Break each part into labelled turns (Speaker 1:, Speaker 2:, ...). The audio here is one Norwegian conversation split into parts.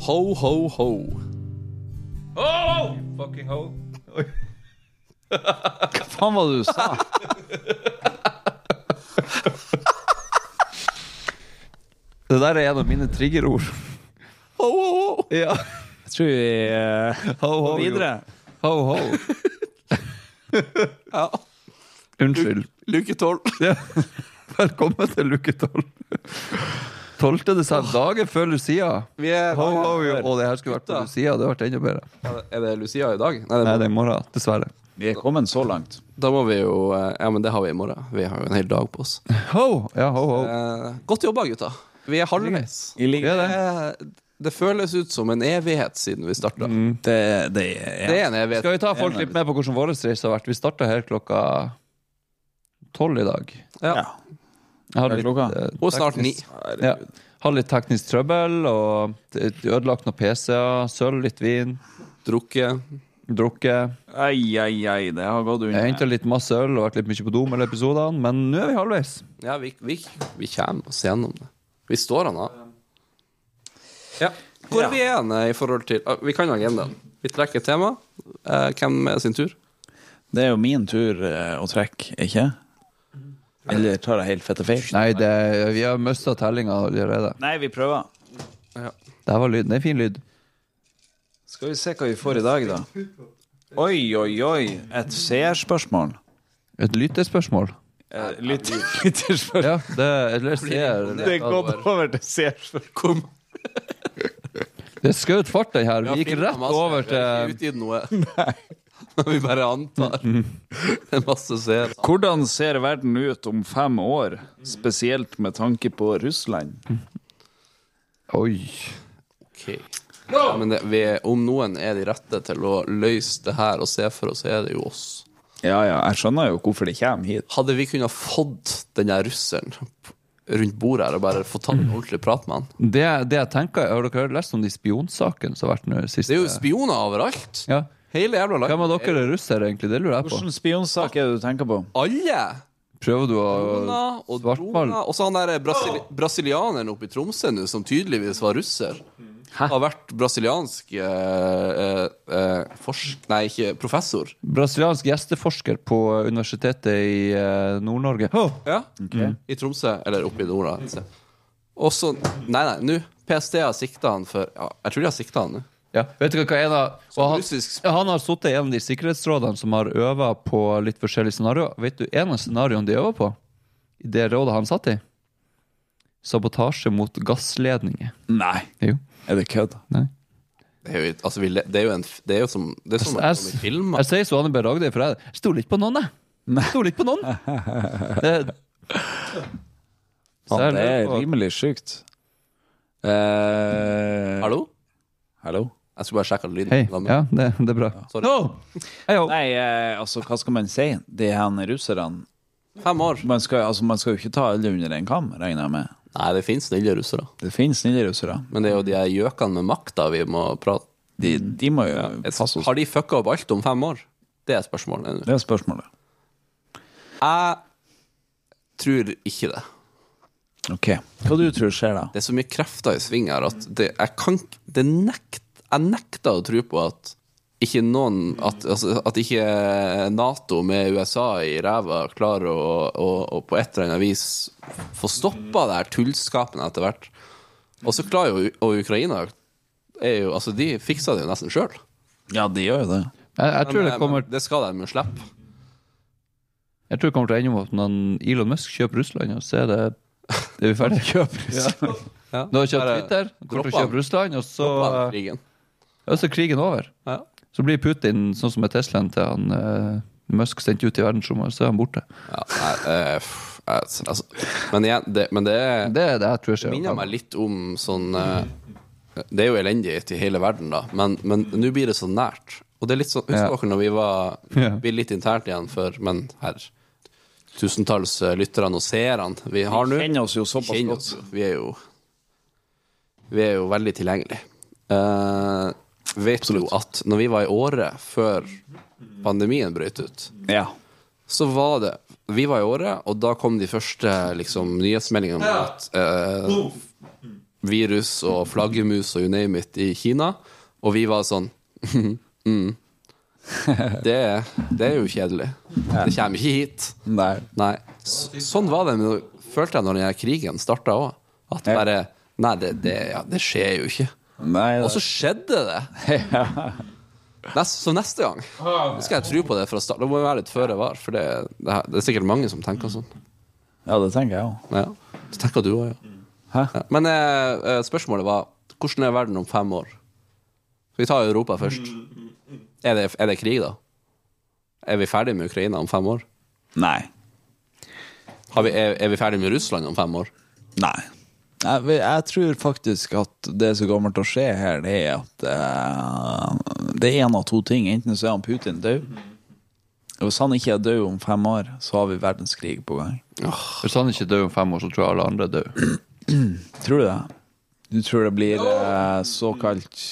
Speaker 1: Ho, ho, ho.
Speaker 2: Oh, fucking ho. Oi.
Speaker 3: Hva faen var det du sa? Det der er en av mine triggerord.
Speaker 1: Ho, ho, ho.
Speaker 3: Ja.
Speaker 4: Jeg tror vi eh,
Speaker 3: Ho, ho,
Speaker 4: går videre.
Speaker 3: Ho, ho.
Speaker 1: Ja.
Speaker 3: Unnskyld.
Speaker 1: Luke tolv.
Speaker 3: Ja. Velkommen til luke tolv. 12. desember, dagen før Lucia.
Speaker 1: Vi er
Speaker 3: Ho, ho, jo. Og det her skulle vært på Lucia. Det hadde vært enda bedre.
Speaker 1: Er det Lucia i dag? Nei,
Speaker 3: Nei,
Speaker 1: det,
Speaker 3: det er i morgen. Dessverre.
Speaker 4: Vi er kommet så langt.
Speaker 1: da må vi jo eh, Ja, men det har vi i morgen. Vi har jo en hel dag på oss.
Speaker 3: Ho! Ja, ho, ho.
Speaker 1: Eh, godt jobba, gutta. Vi er halvveis.
Speaker 4: I like-
Speaker 3: Vi er det.
Speaker 1: Eh, Det føles ut som en evighet siden vi starta.
Speaker 4: Det, det er
Speaker 1: Det er en evighet.
Speaker 3: Mm, Skal vi ta folk litt med på hvordan vår reise har vært? Vi starta her klokka tolv i dag.
Speaker 1: Ja.
Speaker 3: Jeg har
Speaker 4: Er det klokka?
Speaker 3: eh,
Speaker 1: Og snart ni.
Speaker 3: teknisk- Ja. Har litt teknisk trøbbel og det- ødelagt noen PC-er. Sølv, litt vin,
Speaker 1: Drukket.
Speaker 3: drukket.
Speaker 4: Ai, ai, ai. Det har gått
Speaker 3: Jeg
Speaker 4: unna.
Speaker 3: henta litt masse øl og vært litt mye på do mellom episodene, men nå er vi halvveis.
Speaker 1: Ja, vi, vi, vi kommer oss gjennom det. Vi står han av. Ja. Hvor er vi igjen eh, i forhold til ah, Vi kan jo agendaen. Vi trekker et tema. Eh, hvem er sin tur?
Speaker 4: Det er jo min tur eh, å trekke, ikke? Eller tar jeg helt fette feil?
Speaker 3: Nei, det, vi har mista tellinga allerede.
Speaker 4: Nei, vi prøver.
Speaker 3: Det her var lyd. Det er fin lyd.
Speaker 4: Skal vi se hva vi får i dag, da. Oi, oi, oi. Et seerspørsmål.
Speaker 3: Et lyttespørsmål.
Speaker 4: Eh, Lytt lytterspørsmål.
Speaker 3: Ja, det, eller ser
Speaker 4: Det er gått over til seerspørsmål.
Speaker 3: Det skjøt fart, den her. Vi gikk
Speaker 1: filmet
Speaker 3: rett
Speaker 1: masse.
Speaker 3: over
Speaker 1: Vi har ikke
Speaker 3: til Mm.
Speaker 1: utgitt noe. vi bare antar. Det er masse seere.
Speaker 4: Hvordan ser verden ut om fem år, spesielt med tanke på Russland?
Speaker 3: Oi.
Speaker 1: Ok. Ja, men det, vi, om noen er de rette til å løse det her og se for oss, er det jo oss.
Speaker 4: Ja, ja, jeg skjønner jo hvorfor de kommer hit.
Speaker 1: Hadde vi kunnet fått den der russeren rundt bordet her og bare fått tatt en ordentlig prat med han
Speaker 3: Det, det jeg tenker, Har dere lest om de spionsakene som har vært nå sist?
Speaker 1: Det er jo spioner overalt.
Speaker 3: ja.
Speaker 1: Hele jævla landet.
Speaker 3: Hvem av dere er russere, egentlig? Det lurer jeg på.
Speaker 4: Hvilken spionsak er det du tenker på?
Speaker 1: Alle!
Speaker 3: Prøver du å
Speaker 1: Dona og
Speaker 3: Svartmal.
Speaker 1: Dona. Og så han der brasili brasilianeren oppe i Tromsø nå, som tydeligvis var russer. Har vært brasiliansk eh, eh, eh, forsk... Nei, ikke professor.
Speaker 3: Brasiliansk gjesteforsker på Universitetet i eh, Nord-Norge.
Speaker 1: Ja. I Tromsø. Eller oppe i Nora. et sted. Og så Nei, nei, nå. PST har sikta han for ja, Jeg tror de har sikta han nå.
Speaker 3: Ja. Vet dere hva en av og han,
Speaker 1: russisk-
Speaker 3: ja, han har sittet i en av de sikkerhetsrådene som har øva på litt forskjellige scenarioer. Vet du en av scenarioene de øver på? I det rådet han satt i? Sabotasje mot gassledninger.
Speaker 4: Nei,
Speaker 3: Jo.
Speaker 4: er det kødd?
Speaker 1: Det er jo, altså, vi le- det er jo, en, f- det er jo som Det er som
Speaker 3: Jeg-
Speaker 1: om i filmer.
Speaker 3: Jeg sier som Anne B. Ragde, for jeg jeg stoler ikke på noen, jeg. Jeg Stoler ikke på noen. Det, jeg
Speaker 4: Faen, det er
Speaker 3: lurer på-
Speaker 4: rimelig sjukt. Eh,
Speaker 1: Hallo?
Speaker 4: Hallo?
Speaker 1: Jeg skulle bare sjekke at lyden
Speaker 3: Hei.
Speaker 1: var med.
Speaker 3: Ja, det, det er bra.
Speaker 1: Sorry.
Speaker 3: No! Hei, ho.
Speaker 4: Nei, eh, altså, hva skal man si? De her russerne
Speaker 1: Fem år.
Speaker 4: man skal, altså, man skal jo ikke ta alle under en kam, regner jeg med.
Speaker 1: Nei, det finnes snille russere.
Speaker 4: Det finnes snille russere.
Speaker 1: Men det er jo de her gjøkene med makta vi må prate
Speaker 4: De,
Speaker 1: Mm.
Speaker 4: de må jo passe oss.
Speaker 1: Har de fucka opp alt om fem år? Det er spørsmålet.
Speaker 4: Det er spørsmålet.
Speaker 1: Jeg tror ikke det.
Speaker 4: Ok. Hva du tror skjer da?
Speaker 1: Det er så mye krefter i sving her at det, jeg kan ikke- det nekt, Jeg nekter å tro på at ikke noen At, altså, at ikke Nato med USA i ræva klarer å, å, å på et eller annet vis få stoppa det her tullskapen etter hvert. Og så klarer jo Og Ukraina er jo Altså, de fiksa det jo nesten sjøl.
Speaker 4: Ja, de gjør jo det.
Speaker 3: Jeg, jeg tror det kommer
Speaker 1: Det skal de jo slippe.
Speaker 3: Jeg tror det kommer til å ende med at når Elon Musk kjøper Russland, og så er det det er vi ferdige. Kjøper Russland.
Speaker 1: Ja.
Speaker 3: Nå har jeg kjøpt
Speaker 1: Bare
Speaker 3: Twitter, kommer til å
Speaker 1: dropper
Speaker 3: kjøpe Russland, og så,
Speaker 1: dropper den krigen.
Speaker 3: ja, så er krigen over.
Speaker 1: Ja.
Speaker 3: Så blir Putin sånn som er Teslaen til han eh, Musk sendt ut i verdensrommet, og så er han borte.
Speaker 1: Ja, nei, eh, pff, eh, altså, men igjen, det, men det,
Speaker 3: Det er det jeg tror
Speaker 1: det
Speaker 3: skjer.
Speaker 1: minner meg litt om sånn eh, Det er jo elendig til hele verden, da, men men nå blir det så nært. Og det er litt sånn, Husker
Speaker 3: Ja.
Speaker 1: dere når vi var
Speaker 3: Ja.
Speaker 1: vi er litt internt igjen for Men her Tusentalls eh, lytterne og seerne vi har nå
Speaker 4: Kjenner oss jo såpass
Speaker 1: Kjenner
Speaker 4: godt.
Speaker 1: oss. Vi er jo Vi er jo veldig tilgjengelige. Eh, vet jo at når vi var i Åre før pandemien brøt ut,
Speaker 4: Ja.
Speaker 1: så var det Vi var i Åre, og da kom de første liksom, nyhetsmeldingene om at eh, virus og flaggermus og you name it i Kina, og vi var sånn mm. det, det er jo kjedelig. Det kommer ikke hit.
Speaker 4: Nei.
Speaker 1: Nei. S- Sånn var det, men følte jeg når den her krigen starta òg. At
Speaker 4: Ja.
Speaker 1: bare Nei, det, det, ja, det skjer jo ikke.
Speaker 4: Nei
Speaker 1: Og så skjedde det! Nest, så neste gang Nå skal jeg tro på det fra start. Da må jeg være litt føre var, for det, det, her- det er sikkert mange som tenker sånn.
Speaker 4: Ja, det tenker jeg òg.
Speaker 1: Ja. Det tenker du òg, ja.
Speaker 4: Hæ?
Speaker 1: Ja. Men eh, eh, spørsmålet var hvordan er verden om fem år? Vi tar Europa først. Er det, er det krig, da? Er vi ferdig med Ukraina om fem år?
Speaker 4: Nei.
Speaker 1: Har vi, er, er vi ferdig med Russland om fem år?
Speaker 4: Nei. Jeg, vil- jeg tror faktisk at det som kommer til å skje her, det er at eh, Det er én av to ting. Enten så er han Putin død. Og hvis han ikke er død om fem år, så har vi verdenskrig på gang.
Speaker 3: Hvis han ikke er død om fem år, så tror jeg alle andre er døde.
Speaker 4: Tror du det? Du tror det blir eh, såkalt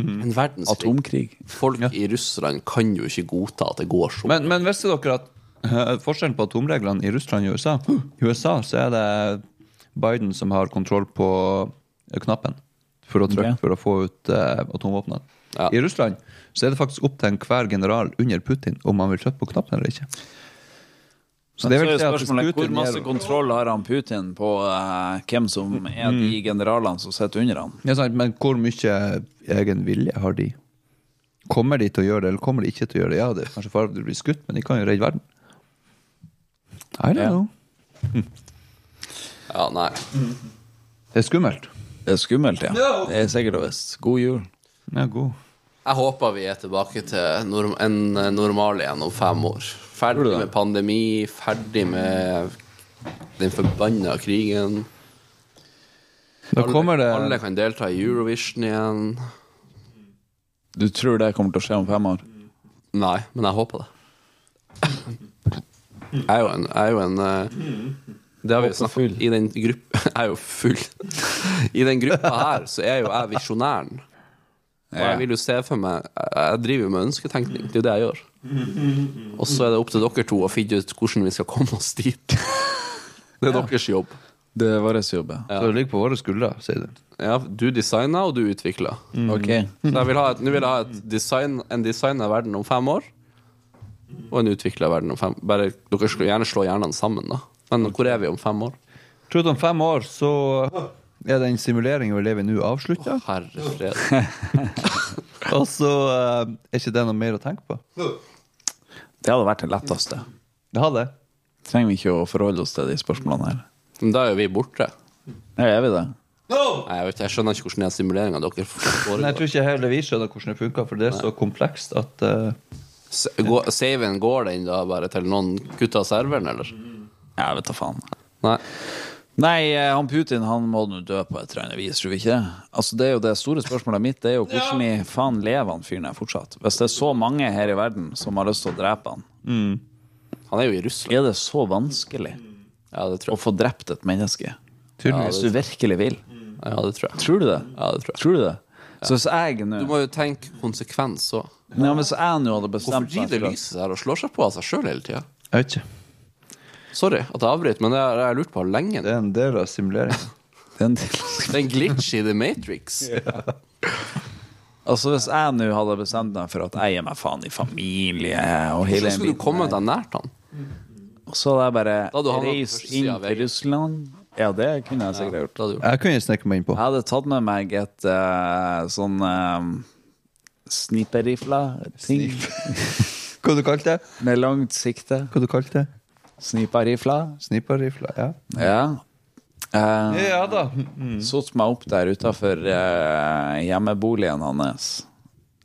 Speaker 1: En verdenskrig.
Speaker 4: atomkrig?
Speaker 1: Folk i Russland kan jo ikke godta at det går sånn.
Speaker 3: Men, men visste dere at eh, forskjellen på atomreglene i Russland og USA I USA så er det Biden som har kontroll på eh, knappen for å trykke
Speaker 4: Ok.
Speaker 3: for å få ut uh, atomvåpnene.
Speaker 1: Ja.
Speaker 3: I Russland så er det faktisk opp til enhver general under Putin om han vil trykke på knappen eller ikke. Så det
Speaker 4: Men
Speaker 3: er vel
Speaker 4: så
Speaker 3: det
Speaker 4: er
Speaker 3: at
Speaker 4: spørsmålet hvor
Speaker 3: Putin
Speaker 4: masse
Speaker 3: gir
Speaker 4: kontroll har han Putin på eh, hvem
Speaker 3: Mm.
Speaker 4: som er de generalene som sitter under han?
Speaker 3: ja, sant, Men hvor mye egen vilje har de? Kommer de til å gjøre det, eller kommer de ikke til å gjøre det? Ja, det er kanskje fare for at de blir skutt, men de kan jo redde verden. I don't
Speaker 4: Ja.
Speaker 3: know.
Speaker 1: Ja, nei.
Speaker 3: Det er skummelt.
Speaker 4: Det er skummelt, ja. Det er sikkert og visst. God jul.
Speaker 3: Den er god.
Speaker 1: Jeg håper vi er tilbake til norm en eh, normal igjen om fem år. Ferdig
Speaker 4: det?
Speaker 1: med pandemi, ferdig med den forbanna krigen.
Speaker 3: Da kommer det
Speaker 1: alle kan delta i Eurovision igjen.
Speaker 4: Du tror det kommer til å skje om fem år?
Speaker 1: Nei, men jeg håper det. Jeg er jo en, jeg er jo en eh, Det har vi jo snakka om. I den gruppa Jeg er jo full. I den gruppa her så er jo jeg visjonæren. Og jeg vil jo se for meg Jeg driver jo med ønsketenkning. Det er jo det jeg gjør. Og så er det opp til dere to å finne ut hvordan vi skal komme oss dit. Det er deres jobb.
Speaker 4: Det er vår jobb, ja.
Speaker 3: Så det ligger på våre skuldre, sier du.
Speaker 1: Ja, du designa, og du utvikla.
Speaker 4: Ok.
Speaker 1: Så jeg vil ha et, nå vil jeg ha et design, en designa verden om fem år, og en utvikla verden om fem Bare, Dere skulle gjerne slå hjernene sammen, da. Men hvor er vi om fem år?
Speaker 3: Tror du om fem år så eh, er den simuleringen vi lever i nå, avslutta?
Speaker 1: Herre fred.
Speaker 3: Og så eh, er ikke det noe mer å tenke på?
Speaker 4: Det hadde vært det letteste.
Speaker 3: Det har det.
Speaker 4: Trenger vi ikke å forholde oss til de spørsmålene her.
Speaker 1: Men da er jo vi borte.
Speaker 4: Ja, er vi det?
Speaker 1: Nei, jeg, vet, ikke, jeg skjønner ikke hvordan den simuleringa dere
Speaker 3: Men jeg
Speaker 1: foregår.
Speaker 3: tror ikke heller vi skjønner hvordan det funker, for det er så komplekst at eh,
Speaker 1: S- går- Saven, går den da bare til noen kutter av serveren, eller?
Speaker 4: Jeg vet da faen.
Speaker 1: Nei.
Speaker 4: Nei, eh, han Putin han må nå dø på et eller annet vis, tror vi ikke det? Altså, det er jo det store spørsmålet mitt, det er jo hvordan i faen lever han fyren her fortsatt? Hvis det er så mange her i verden som har lyst til å drepe han,
Speaker 1: Han er jo i Russland.
Speaker 4: er det så vanskelig
Speaker 1: Ja, det tror
Speaker 4: å
Speaker 1: jeg.
Speaker 4: få drept et menneske? Hvis
Speaker 3: tydeligvis
Speaker 4: du virkelig vil.
Speaker 1: Ja, det tror jeg.
Speaker 4: Tror du det?
Speaker 1: Mm. Ja, det tror jeg.
Speaker 4: Tror du det? Så hvis jeg nå
Speaker 1: Du må jo tenke konsekvens òg.
Speaker 4: Nei, men hvis jeg nå hadde
Speaker 1: Hvorfor
Speaker 4: bestemt
Speaker 1: driver
Speaker 4: for at-
Speaker 1: lyset her og slår seg på av seg sjøl hele tida?
Speaker 3: Jeg vet ikke.
Speaker 1: Sorry at jeg avbryter, men det har jeg lurt på lenge.
Speaker 3: Det er en del av simuleringen.
Speaker 4: Det er en del-
Speaker 1: Det er en glitch i The Matrix.
Speaker 4: Altså Hvis jeg nå hadde bestemt meg for at jeg gir meg faen i familie og hele
Speaker 1: Hvordan skulle du komme deg nært han?
Speaker 4: Og så hadde jeg bare
Speaker 1: Da hadde du havnet på
Speaker 4: reist
Speaker 1: første siden
Speaker 4: inn
Speaker 1: av
Speaker 4: til
Speaker 1: veien.
Speaker 4: Russland. Ja, det kunne jeg sikkert gjort.
Speaker 1: Da hadde du-
Speaker 3: Jeg kunne sneke meg inn på.
Speaker 4: Jeg hadde tatt med meg et eh, sånn uh, sniperrifla-ting
Speaker 3: Hva du kalte det?
Speaker 4: med langt sikte.
Speaker 3: Hva du kalte det?
Speaker 4: Sniperrifla.
Speaker 3: Sniperrifla? Ja.
Speaker 4: Ja. Uh,
Speaker 3: ja da.
Speaker 4: Satt meg opp der utafor eh, hjemmeboligen hans.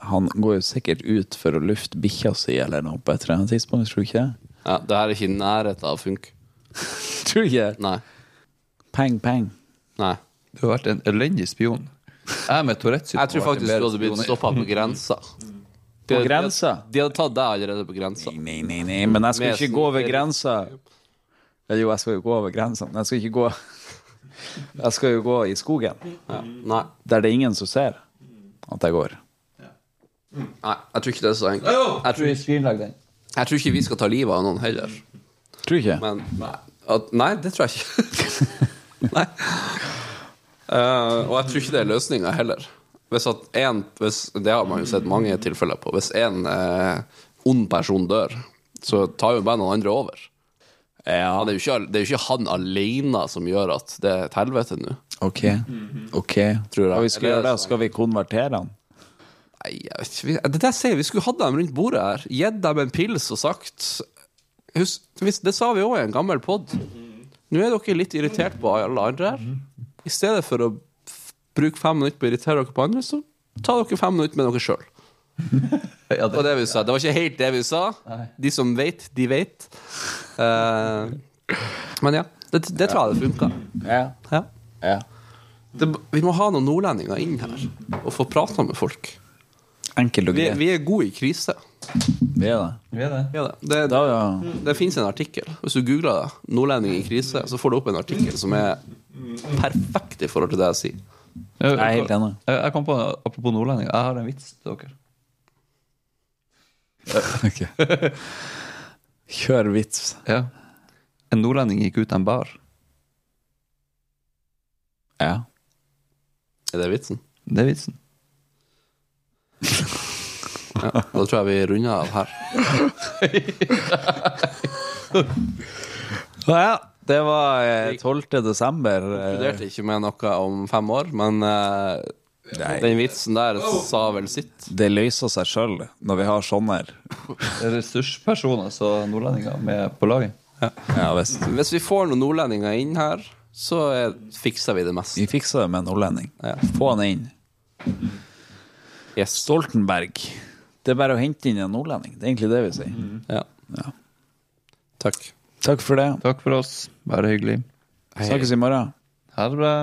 Speaker 4: Han går jo sikkert ut for å lufte bikkja si eller noe på et eller annet tidspunkt, tror du ikke?
Speaker 1: Ja, det her er ikke i nærheten av å funke.
Speaker 4: Tror du ikke?
Speaker 1: Nei.
Speaker 4: Peng, peng.
Speaker 1: Nei.
Speaker 3: Du har vært en elendig spion. Jeg med Tourettes syndrom
Speaker 1: Jeg tror
Speaker 3: har vært en
Speaker 1: faktisk
Speaker 3: bedre
Speaker 1: du hadde blitt
Speaker 3: spion.
Speaker 1: stoppa på grensa.
Speaker 4: På
Speaker 1: De-
Speaker 4: grensa?
Speaker 1: De, de hadde tatt deg allerede på grensa.
Speaker 4: Nei, nei, nei, men jeg skal
Speaker 1: Med
Speaker 4: ikke gå over
Speaker 1: sniper.
Speaker 4: grensa. Eller Jo, jeg skal jo gå over grensa, men jeg skal ikke gå Jeg skal jo gå i skogen,
Speaker 1: Ja. Nei.
Speaker 4: der det er ingen som ser at jeg går.
Speaker 1: Nei, jeg tror ikke det er så enkelt. Jeg tror, jeg tror ikke vi skal ta livet av noen heller.
Speaker 4: Tror du ikke?
Speaker 1: Men nei, at, nei det tror jeg ikke. nei. Eh, og jeg tror ikke det er løsninga heller. Hvis at en, hvis, det har man jo sett mange tilfeller på. Hvis én ond person dør, så tar jo bare noen andre over.
Speaker 4: Ja,
Speaker 1: Han er jo ikke, al- det er jo ikke han alene som gjør at det er et helvete nå.
Speaker 4: ok. Ok.
Speaker 1: Tror jeg.
Speaker 4: Og Mhm. vi skal
Speaker 1: Eller
Speaker 4: gjøre det,
Speaker 1: sånn.
Speaker 4: skal vi konvertere han?
Speaker 1: Nei, jeg vet ikke. vi- Det der sier jeg, vi skulle hatt dem rundt bordet her. Gitt dem en pils og sagt Husk, hvis- Det sa vi òg i en gammel pod. Nå er dere litt irritert på alle andre her. I stedet for å f- bruke fem minutter på å irritere dere på andre, så ta dere fem minutter med dere sjøl.
Speaker 3: Ja,
Speaker 1: Det var det vi sa. Det var ikke helt det vi sa. De som vet, de vet. Eh, men ja. Det, det tror jeg det funka.
Speaker 4: Ja.
Speaker 1: Ja.
Speaker 4: ja.
Speaker 1: Det, vi må ha noen nordlendinger inn her og få prata med folk.
Speaker 4: Enkelt og
Speaker 1: Vi,
Speaker 4: greit.
Speaker 1: vi er gode i krise.
Speaker 4: Vi er det.
Speaker 3: Vi er det.
Speaker 1: Ja, det. Det,
Speaker 4: Da, ja.
Speaker 1: det finnes en artikkel. Hvis du googler det, 'Nordlending i krise', så får du opp en artikkel som er perfekt i forhold til det jeg sier.
Speaker 3: Jeg,
Speaker 4: Jeg er helt enig.
Speaker 3: Jeg, jeg kom på, Apropos nordlending, jeg har en vits til dere.
Speaker 4: Kjør vits.
Speaker 3: Ja. En nordlending gikk ut av en bar.
Speaker 4: Ja.
Speaker 1: Er det vitsen?
Speaker 3: Det er vitsen.
Speaker 1: Ja, da tror jeg vi runder av her.
Speaker 4: ja. Det var eh, 12. desember.
Speaker 1: Jeg
Speaker 4: eh,
Speaker 1: studerte ikke med noe om fem år, men eh,
Speaker 4: Nei,
Speaker 1: den vitsen der sa vel sitt.
Speaker 4: det løser seg sjøl når vi har sånne. her.
Speaker 3: Det er Ressurspersoner, så nordlendinger med på laget.
Speaker 4: Ja visst.
Speaker 1: Hvis vi får noen nordlendinger inn her, så eh, fikser vi det mest.
Speaker 4: Vi fikser det med en nordlending.
Speaker 1: Ja.
Speaker 4: Få han inn.
Speaker 1: Yes.
Speaker 4: Stoltenberg. Det er bare å hente inn en nordlending. Det er egentlig det vi sier.
Speaker 1: Ja.
Speaker 4: Ja.
Speaker 1: Takk.
Speaker 4: Takk for det.
Speaker 3: Takk for oss. Bare hyggelig.
Speaker 4: Snakkes i morgen.
Speaker 3: Ha det bra.